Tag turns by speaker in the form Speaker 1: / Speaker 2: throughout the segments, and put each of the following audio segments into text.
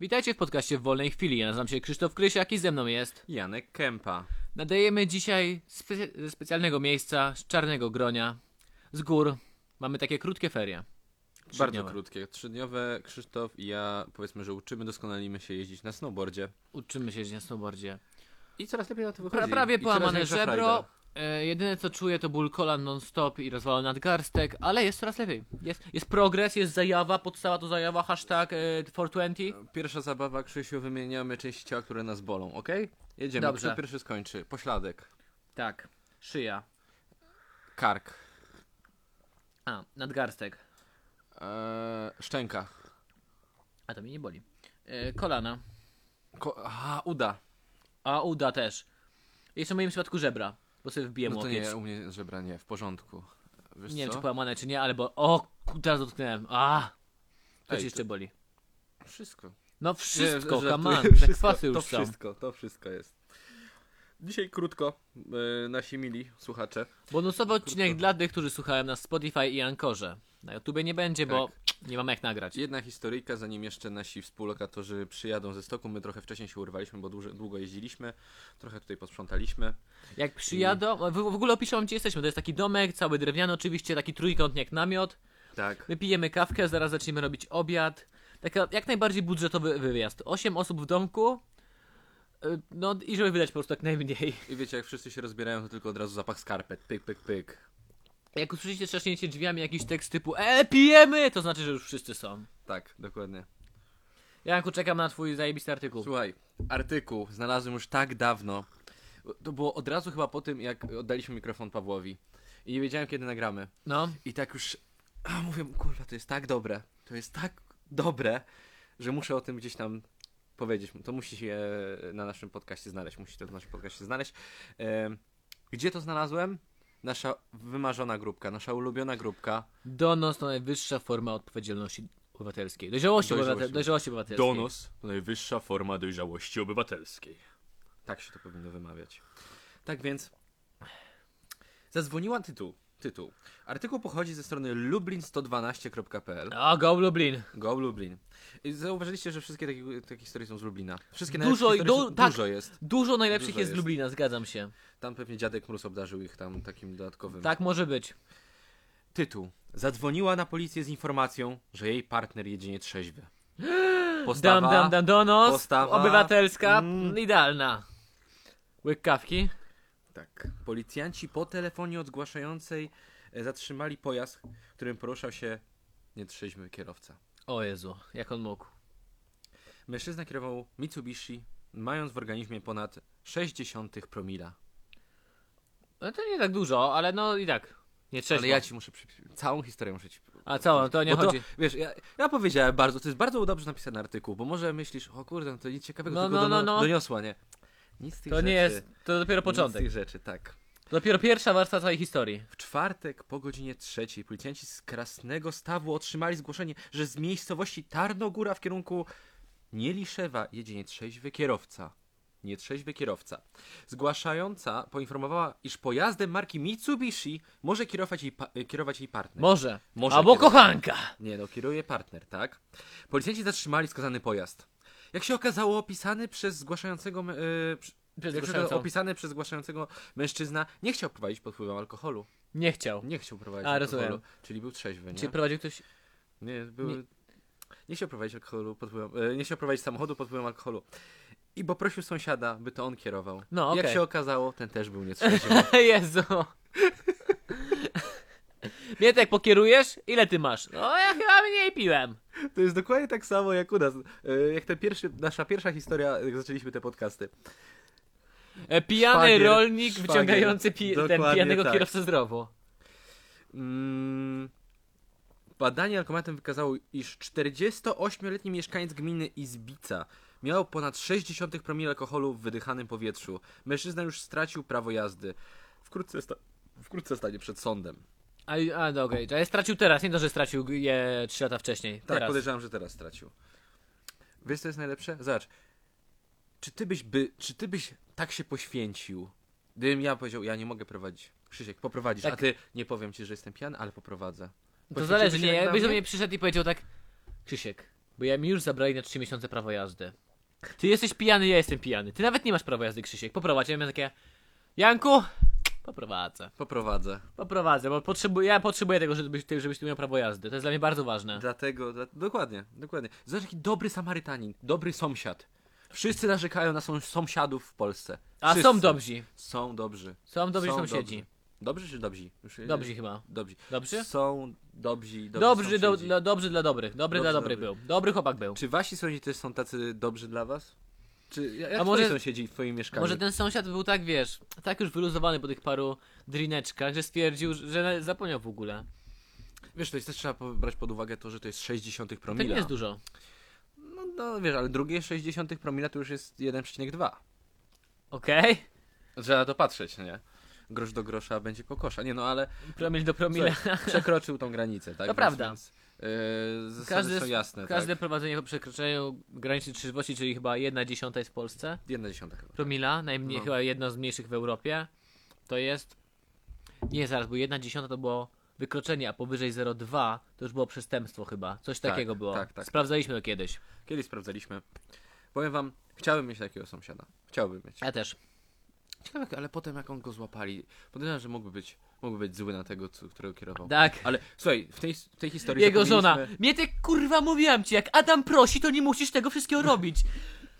Speaker 1: Witajcie w podcaście w wolnej chwili. Ja nazywam się Krzysztof Krysiak i ze mną jest.
Speaker 2: Janek Kępa.
Speaker 1: Nadajemy dzisiaj spe- ze specjalnego miejsca, z czarnego gronia, z gór. Mamy takie krótkie ferie.
Speaker 2: Bardzo
Speaker 1: Trzydniowe.
Speaker 2: krótkie. Trzydniowe Krzysztof i ja powiedzmy, że uczymy, doskonalimy się jeździć na snowboardzie.
Speaker 1: Uczymy się jeździć na snowboardzie.
Speaker 2: I coraz lepiej na to wychodzi.
Speaker 1: Pra, prawie
Speaker 2: I coraz
Speaker 1: połamane
Speaker 2: większa
Speaker 1: żebro.
Speaker 2: frajda.
Speaker 1: E, jedyne co czuję to ból kolan non-stop i rozwalony nadgarstek, ale jest coraz lepiej. Jest, jest progres, jest zajawa, podstawa to zajawa, hashtag e, 420.
Speaker 2: Pierwsza zabawa, Krzysiu, wymieniamy części ciała, które nas bolą, ok? Jedziemy.
Speaker 1: Dobrze.
Speaker 2: Kto pierwszy skończy? Pośladek.
Speaker 1: Tak, szyja.
Speaker 2: Kark.
Speaker 1: A, nadgarstek.
Speaker 2: Eee, szczęka.
Speaker 1: A to mnie nie boli. E, kolana.
Speaker 2: Ko- Aha, uda.
Speaker 1: A uda też. Jeszcze w moim przypadku żebra, bo sobie wbiłem
Speaker 2: No to
Speaker 1: łokieć.
Speaker 2: nie, u mnie żebra nie, w porządku. Wiesz
Speaker 1: Nie wiem, czy
Speaker 2: co?
Speaker 1: połamane, czy nie, ale bo... O, ku- teraz dotknąłem. A, coś
Speaker 2: Ej,
Speaker 1: jeszcze
Speaker 2: to-
Speaker 1: boli.
Speaker 2: Wszystko.
Speaker 1: No wszystko,
Speaker 2: Nie,
Speaker 1: come on,
Speaker 2: żartuję.
Speaker 1: te
Speaker 2: Wszystko,
Speaker 1: kwasy
Speaker 2: To
Speaker 1: już są.
Speaker 2: wszystko, to wszystko jest. Dzisiaj krótko, yy, nasi mili słuchacze.
Speaker 1: Bonusowy odcinek dla tych, którzy słuchają na Spotify i Ankorze. Na YouTubie nie będzie, bo
Speaker 2: Tak.
Speaker 1: nie mamy jak nagrać.
Speaker 2: Jedna historyjka, zanim jeszcze nasi współlokatorzy przyjadą ze stoku. My trochę wcześniej się urwaliśmy, bo dłużej- długo jeździliśmy. Trochę tutaj posprzątaliśmy.
Speaker 1: Jak przyjadą... W, w ogóle opiszę wam, gdzie jesteśmy. To jest taki domek, cały drewniany oczywiście, taki trójkątnik jak namiot.
Speaker 2: Tak.
Speaker 1: My pijemy kawkę, zaraz zaczniemy robić obiad. Taka jak najbardziej budżetowy wyjazd. 8 osób w domku. y, No i żeby wydać po prostu jak najmniej.
Speaker 2: I wiecie, jak wszyscy się rozbierają, to tylko od razu zapach skarpet. Pyk, pyk, pyk.
Speaker 1: Jak usłyszycie trzaśnięcie drzwiami jakiś tekst typu E, pijemy! To znaczy, że już wszyscy są.
Speaker 2: Tak, dokładnie.
Speaker 1: Janku, czekam na twój zajebisty artykuł.
Speaker 2: Słuchaj, artykuł znalazłem już tak dawno. To było od razu chyba po tym, jak oddaliśmy mikrofon Pawłowi. I nie wiedziałem, kiedy nagramy.
Speaker 1: No,
Speaker 2: I tak już a, mówię, kurwa, to jest tak dobre, to jest tak dobre, że muszę o tym gdzieś tam powiedzieć. To musi się e, na naszym podcaście znaleźć, musi to w naszym podcaście znaleźć. Em, Gdzie to znalazłem? Nasza wymarzona grupka, nasza ulubiona grupka.
Speaker 1: donos to najwyższa forma odpowiedzialności obywatelskiej. Dojrzałości,
Speaker 2: Dojrzałości.
Speaker 1: obywate- dojrzałości obywatelskiej.
Speaker 3: Donos to najwyższa forma dojrzałości obywatelskiej.
Speaker 2: Tak się to powinno wymawiać. Tak więc zadzwoniła tytuł. Tytuł. Artykuł pochodzi ze strony lublin112.pl.
Speaker 1: O, go Lublin.
Speaker 2: Go Lublin. I zauważyliście, że wszystkie takie, takie historie są z Lublina. Wszystkie
Speaker 1: Dużo
Speaker 2: najlepsze
Speaker 1: i du-
Speaker 2: historie są,
Speaker 1: tak.
Speaker 2: dużo jest.
Speaker 1: Dużo najlepszych
Speaker 2: Dużo
Speaker 1: jest z
Speaker 2: jest.
Speaker 1: Lublina, zgadzam się.
Speaker 2: Tam pewnie dziadek Mróz obdarzył ich tam takim dodatkowym.
Speaker 1: Tak może być.
Speaker 2: Tytuł. Zadzwoniła na policję z informacją, że jej partner jedzie nietrzeźwy. Postawa,
Speaker 1: Dam, dam, dam, donos.
Speaker 2: postawa.
Speaker 1: Obywatelska, idealna. Łyk kawki.
Speaker 2: Tak. Policjanci po telefonie od zgłaszającej e, zatrzymali pojazd, którym poruszał się nietrzeźwy kierowca.
Speaker 1: O Jezu, jak on mógł.
Speaker 2: Mężczyzna kierował Mitsubishi, mając w organizmie ponad 60 promila.
Speaker 1: No to nie tak dużo, ale no i tak. Nie trzeźwo.
Speaker 2: Ale ja ci muszę przy... całą historię muszę ci.
Speaker 1: A całą, to nie
Speaker 2: bo
Speaker 1: chodzi.
Speaker 2: To, wiesz, ja, ja powiedziałem bardzo, to jest bardzo dobrze napisany artykuł, bo może myślisz, o kurde, no to nic ciekawego
Speaker 1: No, no,
Speaker 2: tylko dono-
Speaker 1: no, no.
Speaker 2: doniosła, nie? Nic z tych
Speaker 1: To
Speaker 2: rzeczy.
Speaker 1: nie jest, to dopiero
Speaker 2: Nic z
Speaker 1: początek.
Speaker 2: tych rzeczy, tak.
Speaker 1: To dopiero pierwsza warstwa całej historii.
Speaker 2: W czwartek po godzinie trzeciej policjanci z Krasnego Stawu otrzymali zgłoszenie, że z miejscowości Tarnogóra w kierunku Nieliszewa jedzie nietrzeźwy kierowca. Nietrzeźwy kierowca. Zgłaszająca poinformowała, iż pojazdem marki Mitsubishi może kierować jej, pa- kierować jej partner.
Speaker 1: Może.
Speaker 2: Może
Speaker 1: Albo
Speaker 2: kiedyś.
Speaker 1: kochanka.
Speaker 2: Nie no, kieruje partner, tak? Policjanci zatrzymali skazany pojazd. Jak się okazało, opisany przez zgłaszającego... m- Yy, przy-
Speaker 1: Przez
Speaker 2: jak się
Speaker 1: zgłaszającą.
Speaker 2: okazało, opisany przez zgłaszającego mężczyzna nie chciał prowadzić pod wpływem alkoholu.
Speaker 1: Nie chciał.
Speaker 2: Nie chciał prowadzić
Speaker 1: A,
Speaker 2: alkoholu,
Speaker 1: rozumiem.
Speaker 2: czyli był trzeźwy, nie?
Speaker 1: Czy prowadził ktoś...
Speaker 2: Nie, był...
Speaker 1: Nie.
Speaker 2: nie. chciał prowadzić alkoholu pod wpływem, e, nie chciał prowadzić samochodu pod wpływem alkoholu. I bo prosił sąsiada, by to on kierował.
Speaker 1: No,
Speaker 2: I Jak
Speaker 1: okej.
Speaker 2: się okazało, ten też był nietrzeźwy.
Speaker 1: Jezu. Mietek, pokierujesz? Ile ty masz? No ja chyba mniej piłem.
Speaker 2: to jest dokładnie tak samo jak u nas. E, Jak ten pierwszy, nasza pierwsza historia, jak zaczęliśmy te podcasty.
Speaker 1: E, Pijany
Speaker 2: Szwagier,
Speaker 1: rolnik
Speaker 2: szwagier.
Speaker 1: wyciągający pi- ten
Speaker 2: Dokładnie
Speaker 1: pijanego
Speaker 2: tak.
Speaker 1: kierowcę zdrowo.
Speaker 2: Mm, badanie alkomatem wykazało, iż 48-letni mieszkaniec gminy Izbica miał ponad 60 promili alkoholu w wydychanym powietrzu. Mężczyzna już stracił prawo jazdy. Wkrótce, sta- wkrótce stanie przed sądem.
Speaker 1: A, a no okej, ale stracił teraz, nie to, że stracił je 3 lata wcześniej.
Speaker 2: Tak,
Speaker 1: teraz.
Speaker 2: podejrzewam, że teraz stracił. Wiesz, co jest najlepsze? Zobacz. Czy ty byś, by, czy ty byś tak się poświęcił, gdybym ja powiedział, ja nie mogę prowadzić. Krzysiek, poprowadzisz,
Speaker 1: Tak.
Speaker 2: a ty nie powiem ci, że jestem pijany, ale poprowadzę.
Speaker 1: To
Speaker 2: Poświęciłbyś
Speaker 1: zależy,
Speaker 2: się
Speaker 1: nie,
Speaker 2: tak dla
Speaker 1: jakbyś do
Speaker 2: mnie?
Speaker 1: mnie przyszedł i powiedział tak Krzysiek, Bo ja mi już zabrali na 3 miesiące prawo jazdy. Ty jesteś pijany, ja jestem pijany. Ty nawet nie masz prawa jazdy, Krzysiek. Poprowadź. Ja miałem takie... Janku, poprowadzę.
Speaker 2: Poprowadzę.
Speaker 1: Poprowadzę, bo potrzebuję, ja potrzebuję tego, żebyś, ty- żebyś ty miał prawo jazdy. To jest dla mnie bardzo ważne.
Speaker 2: Dlatego, dla, dokładnie, dokładnie. Zobacz, jaki dobry Samarytanin, dobry sąsiad. Wszyscy narzekają na sąs- sąsiadów w Polsce.
Speaker 1: A
Speaker 2: Wszyscy.
Speaker 1: są dobrzy.
Speaker 2: Są dobrzy.
Speaker 1: Są dobrzy
Speaker 2: Są
Speaker 1: sąsiedzi.
Speaker 2: dobrzy. Dobrzy czy dobrzy? Już-
Speaker 1: Dobrzy chyba.
Speaker 2: Dobrzy.
Speaker 1: Dobrzy?
Speaker 2: Są dobrzy. dobrzy
Speaker 1: Dobrzy, do,
Speaker 2: sąsiedzi.
Speaker 1: dla, dobrzy dla dobrych. Dobry dla
Speaker 2: Dobrzy,
Speaker 1: dobrych
Speaker 2: dobry.
Speaker 1: był. Dobry chłopak był.
Speaker 2: Czy wasi sąsiedzi też są tacy dobrzy dla was? Czy jak A
Speaker 1: może-
Speaker 2: może sąsiedzi w twoim mieszkaniu?
Speaker 1: Może ten sąsiad był tak, wiesz, tak już wyluzowany po tych paru drineczkach, że stwierdził, że na- zapomniał w ogóle.
Speaker 2: Wiesz, to jest, też trzeba po- brać pod uwagę to, że to jest 60
Speaker 1: To
Speaker 2: promila.
Speaker 1: nie Tak jest dużo.
Speaker 2: No, no wiesz, ale drugie 60 promila to już jest 1,2.
Speaker 1: Okej?
Speaker 2: Trzeba na to patrzeć, no nie? Grosz do grosza będzie kokosza. Nie no, ale
Speaker 1: Promil do promila.
Speaker 2: słuchaj, przekroczył tą granicę, tak?
Speaker 1: To prawda.
Speaker 2: Więc, yy, zasady
Speaker 1: Każdy-
Speaker 2: są jasne,
Speaker 1: Każde
Speaker 2: każdy...
Speaker 1: prowadzenie po przekroczeniu granicy trzeźwości, czyli chyba 1 dziesiąta jest w Polsce,
Speaker 2: tak? Jedna dziesiąta chyba.
Speaker 1: promila, najmniej
Speaker 2: No.
Speaker 1: chyba jedna z mniejszych w Europie, to jest... Nie, zaraz, bo 1 dziesiąta to było wykroczenie, a powyżej 0,2 to już było przestępstwo chyba. Coś
Speaker 2: Tak,
Speaker 1: takiego było.
Speaker 2: tak, tak.
Speaker 1: Sprawdzaliśmy to kiedyś.
Speaker 2: Kiedyś sprawdzaliśmy. Powiem wam, chciałbym mieć takiego sąsiada. Chciałbym mieć.
Speaker 1: Ja też.
Speaker 2: Ciekawe, jak- ale potem jak on go złapali, podejrzewam, że mógłby być, mógłby być zły na tego, co, którego kierował.
Speaker 1: Tak.
Speaker 2: Ale słuchaj, w tej, w tej historii
Speaker 1: Jego żona.
Speaker 2: zapomnieliśmy-
Speaker 1: Mietek, kurwa, mówiłam ci, jak Adam prosi, to nie musisz tego wszystkiego robić.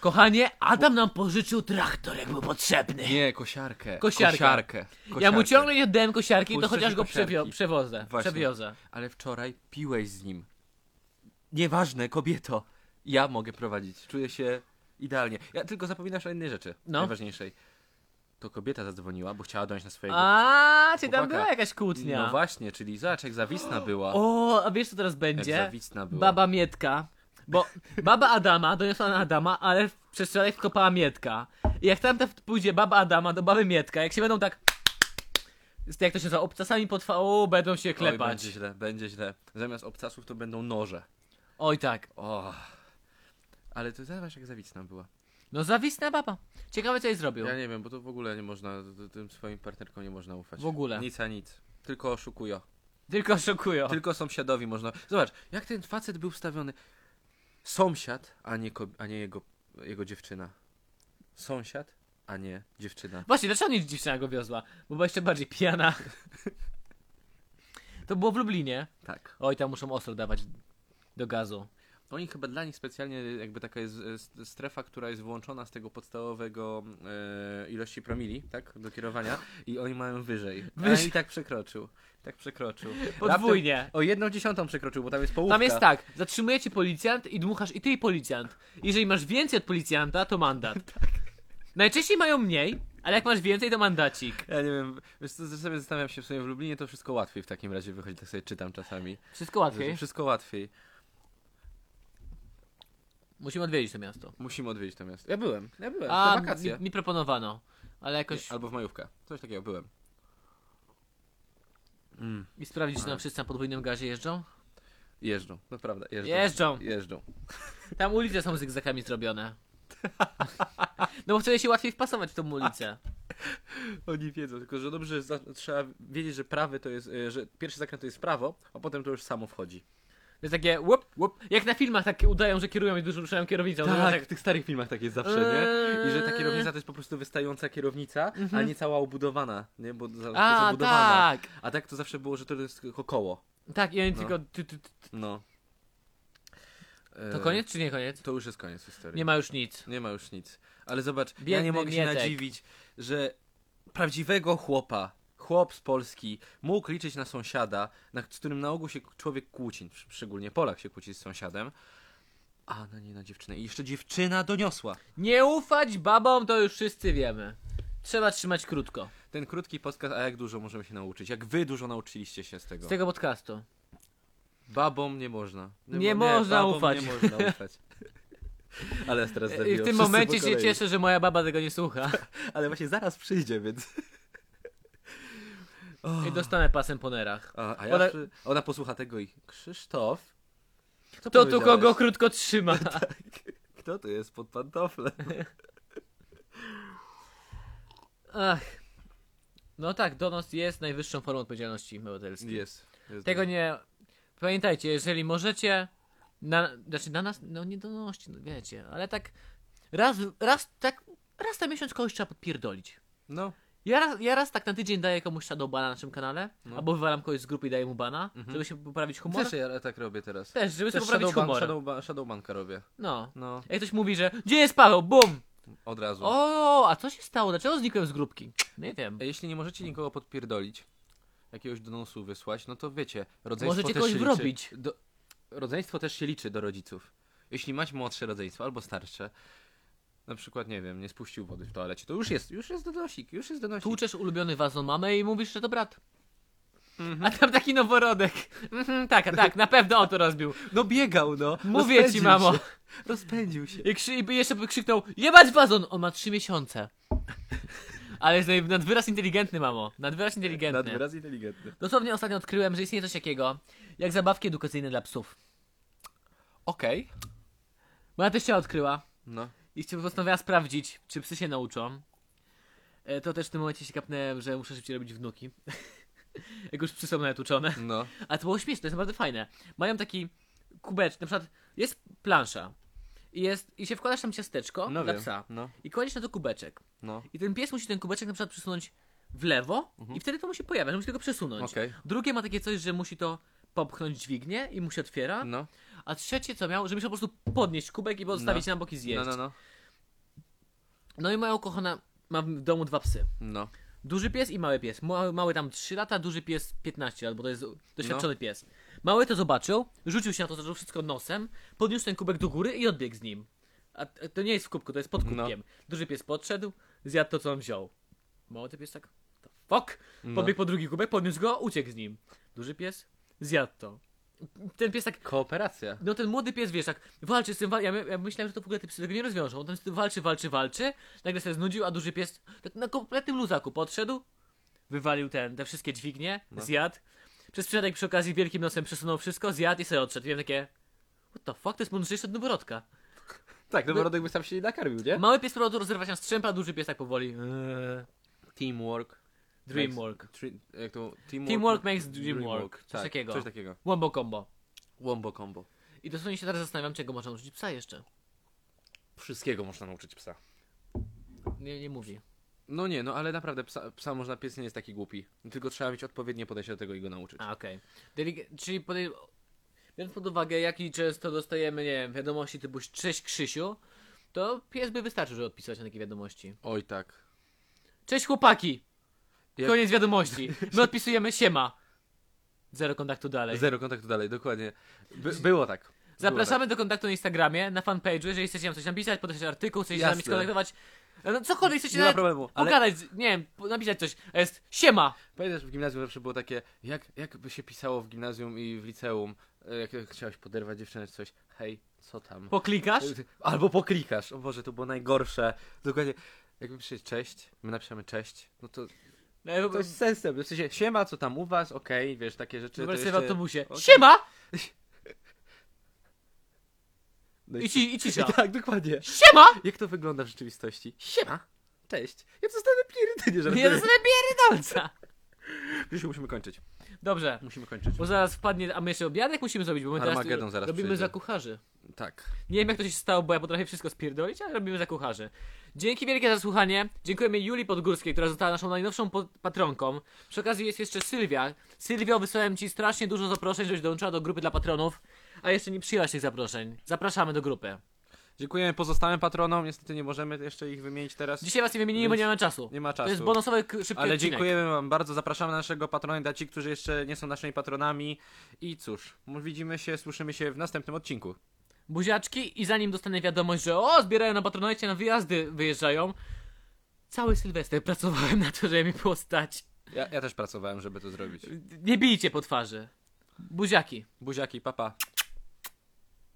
Speaker 1: Kochanie, Adam nam pożyczył traktor, jak był potrzebny.
Speaker 2: Nie, kosiarkę.
Speaker 1: Kosiarkę.
Speaker 2: Kosiarkę.
Speaker 1: Ja mu
Speaker 2: Kosiarkę.
Speaker 1: ciągle nie oddałem kosiarki, to
Speaker 2: Puszczę
Speaker 1: chociaż
Speaker 2: ci
Speaker 1: go
Speaker 2: kosiarki.
Speaker 1: przewio- przewożę.
Speaker 2: Właśnie.
Speaker 1: Przewiozę.
Speaker 2: Ale wczoraj piłeś z nim. Nieważne, kobieto. Ja mogę prowadzić. Czuję się idealnie. Ja tylko zapominasz o innej rzeczy.
Speaker 1: No.
Speaker 2: Najważniejszej. To kobieta zadzwoniła, bo chciała dojść na swojego.
Speaker 1: A, czy tam
Speaker 2: Chłopaka.
Speaker 1: była jakaś kłótnia?
Speaker 2: No właśnie, czyli zobacz, jak zawisna była.
Speaker 1: o, a wiesz co teraz
Speaker 2: jak
Speaker 1: będzie?
Speaker 2: zawisna była.
Speaker 1: Baba Mietka. Bo baba Adama doniosła na Adama, ale w- przez wczoraj wkopała Mietka. I jak tamta w- pójdzie baba Adama do baby Mietka, jak się będą tak... Jak to się za obcasami potrwało, będą się
Speaker 2: Oj,
Speaker 1: klepać.
Speaker 2: będzie źle, będzie źle. Zamiast obcasów to będą noże.
Speaker 1: Oj tak.
Speaker 2: O. Ale to zobacz, jak zawisna była.
Speaker 1: No zawisna baba. Ciekawe co jej zrobił.
Speaker 2: Ja nie wiem, bo to w ogóle nie można, t- tym swoim partnerkom nie można ufać.
Speaker 1: W ogóle.
Speaker 2: Nic a nic. Tylko oszukują.
Speaker 1: Tylko szokują.
Speaker 2: Tylko sąsiadowi można. Zobacz, jak ten facet był wstawiony. Sąsiad, a nie, ko- a nie jego, jego dziewczyna. Sąsiad, a nie dziewczyna.
Speaker 1: Właśnie, dlaczego nie dziewczyna go wiozła? Bo była jeszcze bardziej pijana. to było w Lublinie.
Speaker 2: Tak.
Speaker 1: Oj, tam muszą ostro dawać do gazu.
Speaker 2: Oni chyba dla nich specjalnie jakby taka jest e, s- strefa, która jest wyłączona z tego podstawowego e, ilości promili, tak? Do kierowania. I oni mają wyżej.
Speaker 1: Wyżej.
Speaker 2: A i tak przekroczył. Tak przekroczył.
Speaker 1: Podwójnie.
Speaker 2: Raptem O jedną dziesiątą przekroczył, bo tam jest połówka.
Speaker 1: Tam jest tak, zatrzymuje cię policjant i dmuchasz i ty i policjant. Jeżeli masz więcej od policjanta, to mandat.
Speaker 2: Tak.
Speaker 1: Najczęściej mają mniej, ale jak masz więcej, to mandacik.
Speaker 2: Ja nie wiem, wiesz co, sobie zastanawiam się w sumie w Lublinie, to wszystko łatwiej w takim razie wychodzi, tak sobie czytam czasami.
Speaker 1: Wszystko łatwiej.
Speaker 2: Wszystko łatwiej.
Speaker 1: Musimy odwiedzić to miasto.
Speaker 2: Musimy odwiedzić to miasto. Ja byłem, ja byłem. na
Speaker 1: A, mi,
Speaker 2: Tak, wakacje.
Speaker 1: mi proponowano. Ale jakoś...
Speaker 2: Albo w majówkę. Coś takiego, byłem.
Speaker 1: I sprawdzić, czy nam wszyscy na podwójnym gazie jeżdżą?
Speaker 2: Jeżdżą, naprawdę, No jeżdżą.
Speaker 1: Jeżdżą.
Speaker 2: Jeżdżą.
Speaker 1: Tam ulice są zygzakami zrobione. No bo wtedy się łatwiej wpasować w
Speaker 2: Tak.
Speaker 1: tą ulicę.
Speaker 2: Oni wiedzą, tylko że dobrze, że za- trzeba wiedzieć, że prawy to jest, y, że pierwszy zakręt to jest prawo, a potem to już samo wchodzi.
Speaker 1: To jest takie łup, łup. Jak na filmach tak udają, że kierują i dużo ruszają kierownicą. Że
Speaker 2: Tak,
Speaker 1: tak.
Speaker 2: w tych starych filmach tak jest zawsze,
Speaker 1: Eee.
Speaker 2: nie? I że ta kierownica to jest po prostu wystająca kierownica, a nie cała obudowana, nie? Bo za, to
Speaker 1: A,
Speaker 2: zabudowana.
Speaker 1: tak.
Speaker 2: A Mhm. tak to zawsze było, że to jest tylko koło.
Speaker 1: Tak, i oni
Speaker 2: No.
Speaker 1: tylko... Ty, ty, ty.
Speaker 2: No.
Speaker 1: To
Speaker 2: E,
Speaker 1: koniec czy nie koniec?
Speaker 2: To już jest koniec historii.
Speaker 1: Nie ma już nic.
Speaker 2: Nie ma już nic. Ale zobacz, ja
Speaker 1: Biedny
Speaker 2: nie mogę
Speaker 1: Mietek.
Speaker 2: się nadziwić, że prawdziwego chłopa, chłop z Polski, mógł liczyć na sąsiada, na, z którym na ogół się człowiek kłóci, sz- szczególnie Polak się kłóci z sąsiadem, a na nie na dziewczynę. I jeszcze dziewczyna doniosła.
Speaker 1: Nie ufać babom, to już wszyscy wiemy. Trzeba trzymać krótko.
Speaker 2: Ten krótki podcast, a jak dużo możemy się nauczyć? Jak wy dużo nauczyliście się z tego?
Speaker 1: Z tego podcastu.
Speaker 2: Babom nie można.
Speaker 1: Nie
Speaker 2: mo-
Speaker 1: można
Speaker 2: babom
Speaker 1: ufać.
Speaker 2: Nie można ufać. Ale teraz teraz
Speaker 1: I w
Speaker 2: zabiłem
Speaker 1: tym
Speaker 2: wszyscy po
Speaker 1: momencie się
Speaker 2: kolei.
Speaker 1: cieszę, że moja baba tego nie słucha.
Speaker 2: Ale właśnie zaraz przyjdzie, więc... O.
Speaker 1: I dostanę pasem po nerach.
Speaker 2: A, a ja
Speaker 1: Ona-
Speaker 2: ona... ona posłucha tego i Krzysztof.
Speaker 1: To
Speaker 2: Co
Speaker 1: tu
Speaker 2: powiedziałeś?
Speaker 1: kogo krótko trzyma.
Speaker 2: Kto to jest pod pantofle?
Speaker 1: Ach. No tak, donos jest najwyższą formą odpowiedzialności obywatelskiej.
Speaker 2: Jest. jest
Speaker 1: Tego
Speaker 2: dobry.
Speaker 1: nie. Pamiętajcie, jeżeli możecie, Na, znaczy na nas, no nie donoście, no wiecie, ale tak raz, raz, tak, raz na miesiąc kogoś trzeba podpierdolić.
Speaker 2: No.
Speaker 1: Ja raz, ja raz tak na tydzień daję komuś shadowbana na naszym kanale,
Speaker 2: No.
Speaker 1: albo wywalam kogoś z grupy i daję mu bana,
Speaker 2: Mhm.
Speaker 1: żeby się poprawić humor.
Speaker 2: Też ja tak robię teraz.
Speaker 1: Też, żeby
Speaker 2: Też
Speaker 1: sobie poprawić
Speaker 2: shadowban-
Speaker 1: humor.
Speaker 2: shadowba- Shadowbanka robię.
Speaker 1: No.
Speaker 2: No,
Speaker 1: Jak ktoś mówi, że gdzie jest Paweł? Bum!
Speaker 2: od razu.
Speaker 1: O, a co się stało? Dlaczego znikłem z grupki? Nie wiem.
Speaker 2: A Jeśli nie możecie nikogo podpierdolić, jakiegoś donosu wysłać, no to wiecie, rodzeństwo
Speaker 1: Możecie
Speaker 2: też
Speaker 1: kogoś
Speaker 2: się
Speaker 1: wrobić.
Speaker 2: Liczy. Do... Rodzeństwo też się liczy do rodziców. Jeśli masz młodsze rodzeństwo albo starsze, na przykład, nie wiem, nie spuścił wody w toalecie, to już jest, już jest donosik, już jest donosik.
Speaker 1: Tłuczesz ulubiony wazon mamy i mówisz, że to brat.
Speaker 2: Mhm.
Speaker 1: A tam taki noworodek. Mhm, tak, a tak, na pewno on to rozbił.
Speaker 2: No biegał, no.
Speaker 1: Mówię
Speaker 2: Rozpędził
Speaker 1: ci, mamo.
Speaker 2: Się. Rozpędził się.
Speaker 1: I, krzy- I jeszcze by krzyknął, jebać wazon! On ma trzy miesiące. Ale jest naj- nadwyraz inteligentny, mamo. Nadwyraz inteligentny.
Speaker 2: Nadwyraz inteligentny.
Speaker 1: Dosłownie ostatnio odkryłem, że istnieje coś takiego, jak zabawki edukacyjne dla psów.
Speaker 2: Okej.
Speaker 1: Moja teścia odkryła
Speaker 2: No.
Speaker 1: i chcia- postanowiła sprawdzić, czy psy się nauczą. E, to też w tym momencie się kapnąłem, że muszę szybciej robić wnuki. jak już psy są nawet uczone.
Speaker 2: No.
Speaker 1: Ale to było śmieszne, to jest naprawdę fajne. Mają taki kubeczek, na przykład jest plansza i, jest, i się wkładasz tam ciasteczko
Speaker 2: No
Speaker 1: dla
Speaker 2: wiem.
Speaker 1: psa
Speaker 2: No.
Speaker 1: i kładziesz na to kubeczek.
Speaker 2: No.
Speaker 1: I ten pies musi ten kubeczek na przykład przesunąć w lewo i wtedy to musi pojawiać, musi tylko przesunąć.
Speaker 2: Mhm. Okej.
Speaker 1: Drugie ma takie coś, że musi to popchnąć dźwignię i mu się otwiera,
Speaker 2: No.
Speaker 1: a trzecie co miał, że musiał po prostu podnieść kubek i postawić
Speaker 2: No.
Speaker 1: na boki zjeść.
Speaker 2: No, no, no.
Speaker 1: no i moja ukochana ma w domu dwa psy.
Speaker 2: No.
Speaker 1: Duży pies i mały pies. Mały, mały tam 3 lata, duży pies 15 lat, bo to jest doświadczony
Speaker 2: No.
Speaker 1: pies. Mały to zobaczył, rzucił się na to, zaczął wszystko nosem, podniósł ten kubek do góry i odbiegł z nim. A t- to nie jest w kubku, to jest pod
Speaker 2: No.
Speaker 1: kubkiem. Duży pies podszedł, zjadł to, co on wziął. Mały ten pies tak, to fuck,
Speaker 2: no.
Speaker 1: pobiegł po drugi kubek, podniósł go, uciekł z nim. Duży pies, zjadł to. Ten pies tak
Speaker 2: Kooperacja.
Speaker 1: no ten młody pies, wiesz, tak walczy z tym, wal... ja, my- ja myślałem, że to w ogóle te psy tego nie rozwiążą. On tam z tym walczy, walczy, walczy, nagle się znudził, a duży pies tak na kompletnym luzaku podszedł, wywalił ten, te wszystkie dźwignie,
Speaker 2: No.
Speaker 1: zjadł. Przez przypadek przy okazji wielkim nosem przesunął wszystko, zjadł i sobie odszedł. Miałem takie, what the fuck, to jest mądrzejszy od noworodka.
Speaker 2: Tak, noworodek by sam się nie nakarmił, nie?
Speaker 1: Mały pies próbował rozrywać się z strzępa, a duży pies tak powoli, eee,
Speaker 2: Teamwork.
Speaker 1: dreamwork.
Speaker 2: Tri- jak to? Teamwork,
Speaker 1: Teamwork makes dream work. Coś
Speaker 2: tak,
Speaker 1: takiego.
Speaker 2: Coś takiego.
Speaker 1: Wombo combo.
Speaker 2: Wombo combo.
Speaker 1: I dosłownie się teraz zastanawiam, czego można użyć psa jeszcze.
Speaker 2: Wszystkiego można nauczyć psa.
Speaker 1: Nie, nie mówi.
Speaker 2: No nie, no ale naprawdę psa, psa można, pies nie jest taki głupi. Tylko trzeba mieć odpowiednie podejście do tego i go nauczyć.
Speaker 1: A, okej. Delige- czyli podej- biorąc pod uwagę, jaki często dostajemy, nie wiem, wiadomości typu Cześć Krzysiu, to pies by wystarczył, żeby odpisać na takie wiadomości.
Speaker 2: Oj tak.
Speaker 1: Cześć chłopaki!
Speaker 2: Jak-
Speaker 1: Koniec wiadomości. My odpisujemy siema. Zero kontaktu dalej.
Speaker 2: Zero kontaktu dalej, dokładnie. By, było tak. Było
Speaker 1: Zapraszamy do kontaktu na Instagramie, na fanpage'u, jeżeli chcecie nam coś napisać, podać artykuł, chcecie się z nami
Speaker 2: Jasne.
Speaker 1: skontaktować. No cokolwiek
Speaker 2: tak.
Speaker 1: chcecie
Speaker 2: Nie ma
Speaker 1: nawet
Speaker 2: problemu, ale
Speaker 1: pogadać, z- nie wiem, po- napisać coś. A jest siema!
Speaker 2: pamiętasz w gimnazjum zawsze było takie, jak, jak by się pisało w gimnazjum i w liceum, e, jak chciałeś poderwać dziewczynę czy coś, hej, co tam?
Speaker 1: Poklikasz?
Speaker 2: Albo poklikasz. O Boże, to było najgorsze. Dokładnie. Jakby przyjść cześć, my napiszemy cześć, no to
Speaker 1: No, ja
Speaker 2: to jest sensem. W sensie, siema, co tam u was, okej, wiesz, takie rzeczy.
Speaker 1: Wyobraź
Speaker 2: to
Speaker 1: sobie w
Speaker 2: jeszcze-
Speaker 1: autobusie.
Speaker 2: Okej.
Speaker 1: Siema!
Speaker 2: No
Speaker 1: I, ci, I cisza.
Speaker 2: I tak, dokładnie.
Speaker 1: Siema!
Speaker 2: Jak to wygląda w rzeczywistości? Siema, cześć. Ja zostanę pierdynie, że
Speaker 1: Nie
Speaker 2: ja
Speaker 1: dostanę pierdolca!
Speaker 2: Już musimy kończyć.
Speaker 1: Dobrze,
Speaker 2: Musimy kończyć.
Speaker 1: bo zaraz wpadnie, a my jeszcze obiadek musimy zrobić, bo my teraz
Speaker 2: Armagedon
Speaker 1: tu
Speaker 2: zaraz
Speaker 1: robimy
Speaker 2: przyjdzie.
Speaker 1: za kucharzy.
Speaker 2: Tak.
Speaker 1: Nie wiem jak to się stało, bo ja potrafię wszystko spierdolić, ale robimy za kucharzy. Dzięki wielkie za słuchanie. Dziękujemy Julii Podgórskiej, która została naszą najnowszą pod- patronką. Przy okazji jest jeszcze Sylwia. Sylwio, wysłałem ci strasznie dużo zaproszeń, żebyś dołączyła do grupy dla patronów, a jeszcze nie przyjęłaś tych zaproszeń. Zapraszamy do grupy.
Speaker 2: Dziękujemy pozostałym patronom. Niestety nie możemy jeszcze ich wymienić teraz.
Speaker 1: Dzisiaj was nie wymienimy, bo nie mamy czasu.
Speaker 2: Nie ma
Speaker 1: To jest
Speaker 2: czasu.
Speaker 1: bonusowy k- szybki
Speaker 2: Ale
Speaker 1: odcinek.
Speaker 2: dziękujemy Wam bardzo. Zapraszamy na naszego patrona dla ci, którzy jeszcze nie są naszymi patronami. I cóż, m- widzimy się, słyszymy się w następnym odcinku.
Speaker 1: buziaczki i zanim dostanę wiadomość, że o, zbierają na patronajcie, na wyjazdy wyjeżdżają, cały Sylwester pracowałem na to, żeby mi było stać.
Speaker 2: Ja, ja też pracowałem, żeby to zrobić.
Speaker 1: Nie bijcie po twarzy. Buziaki.
Speaker 2: Buziaki, papa. Pa.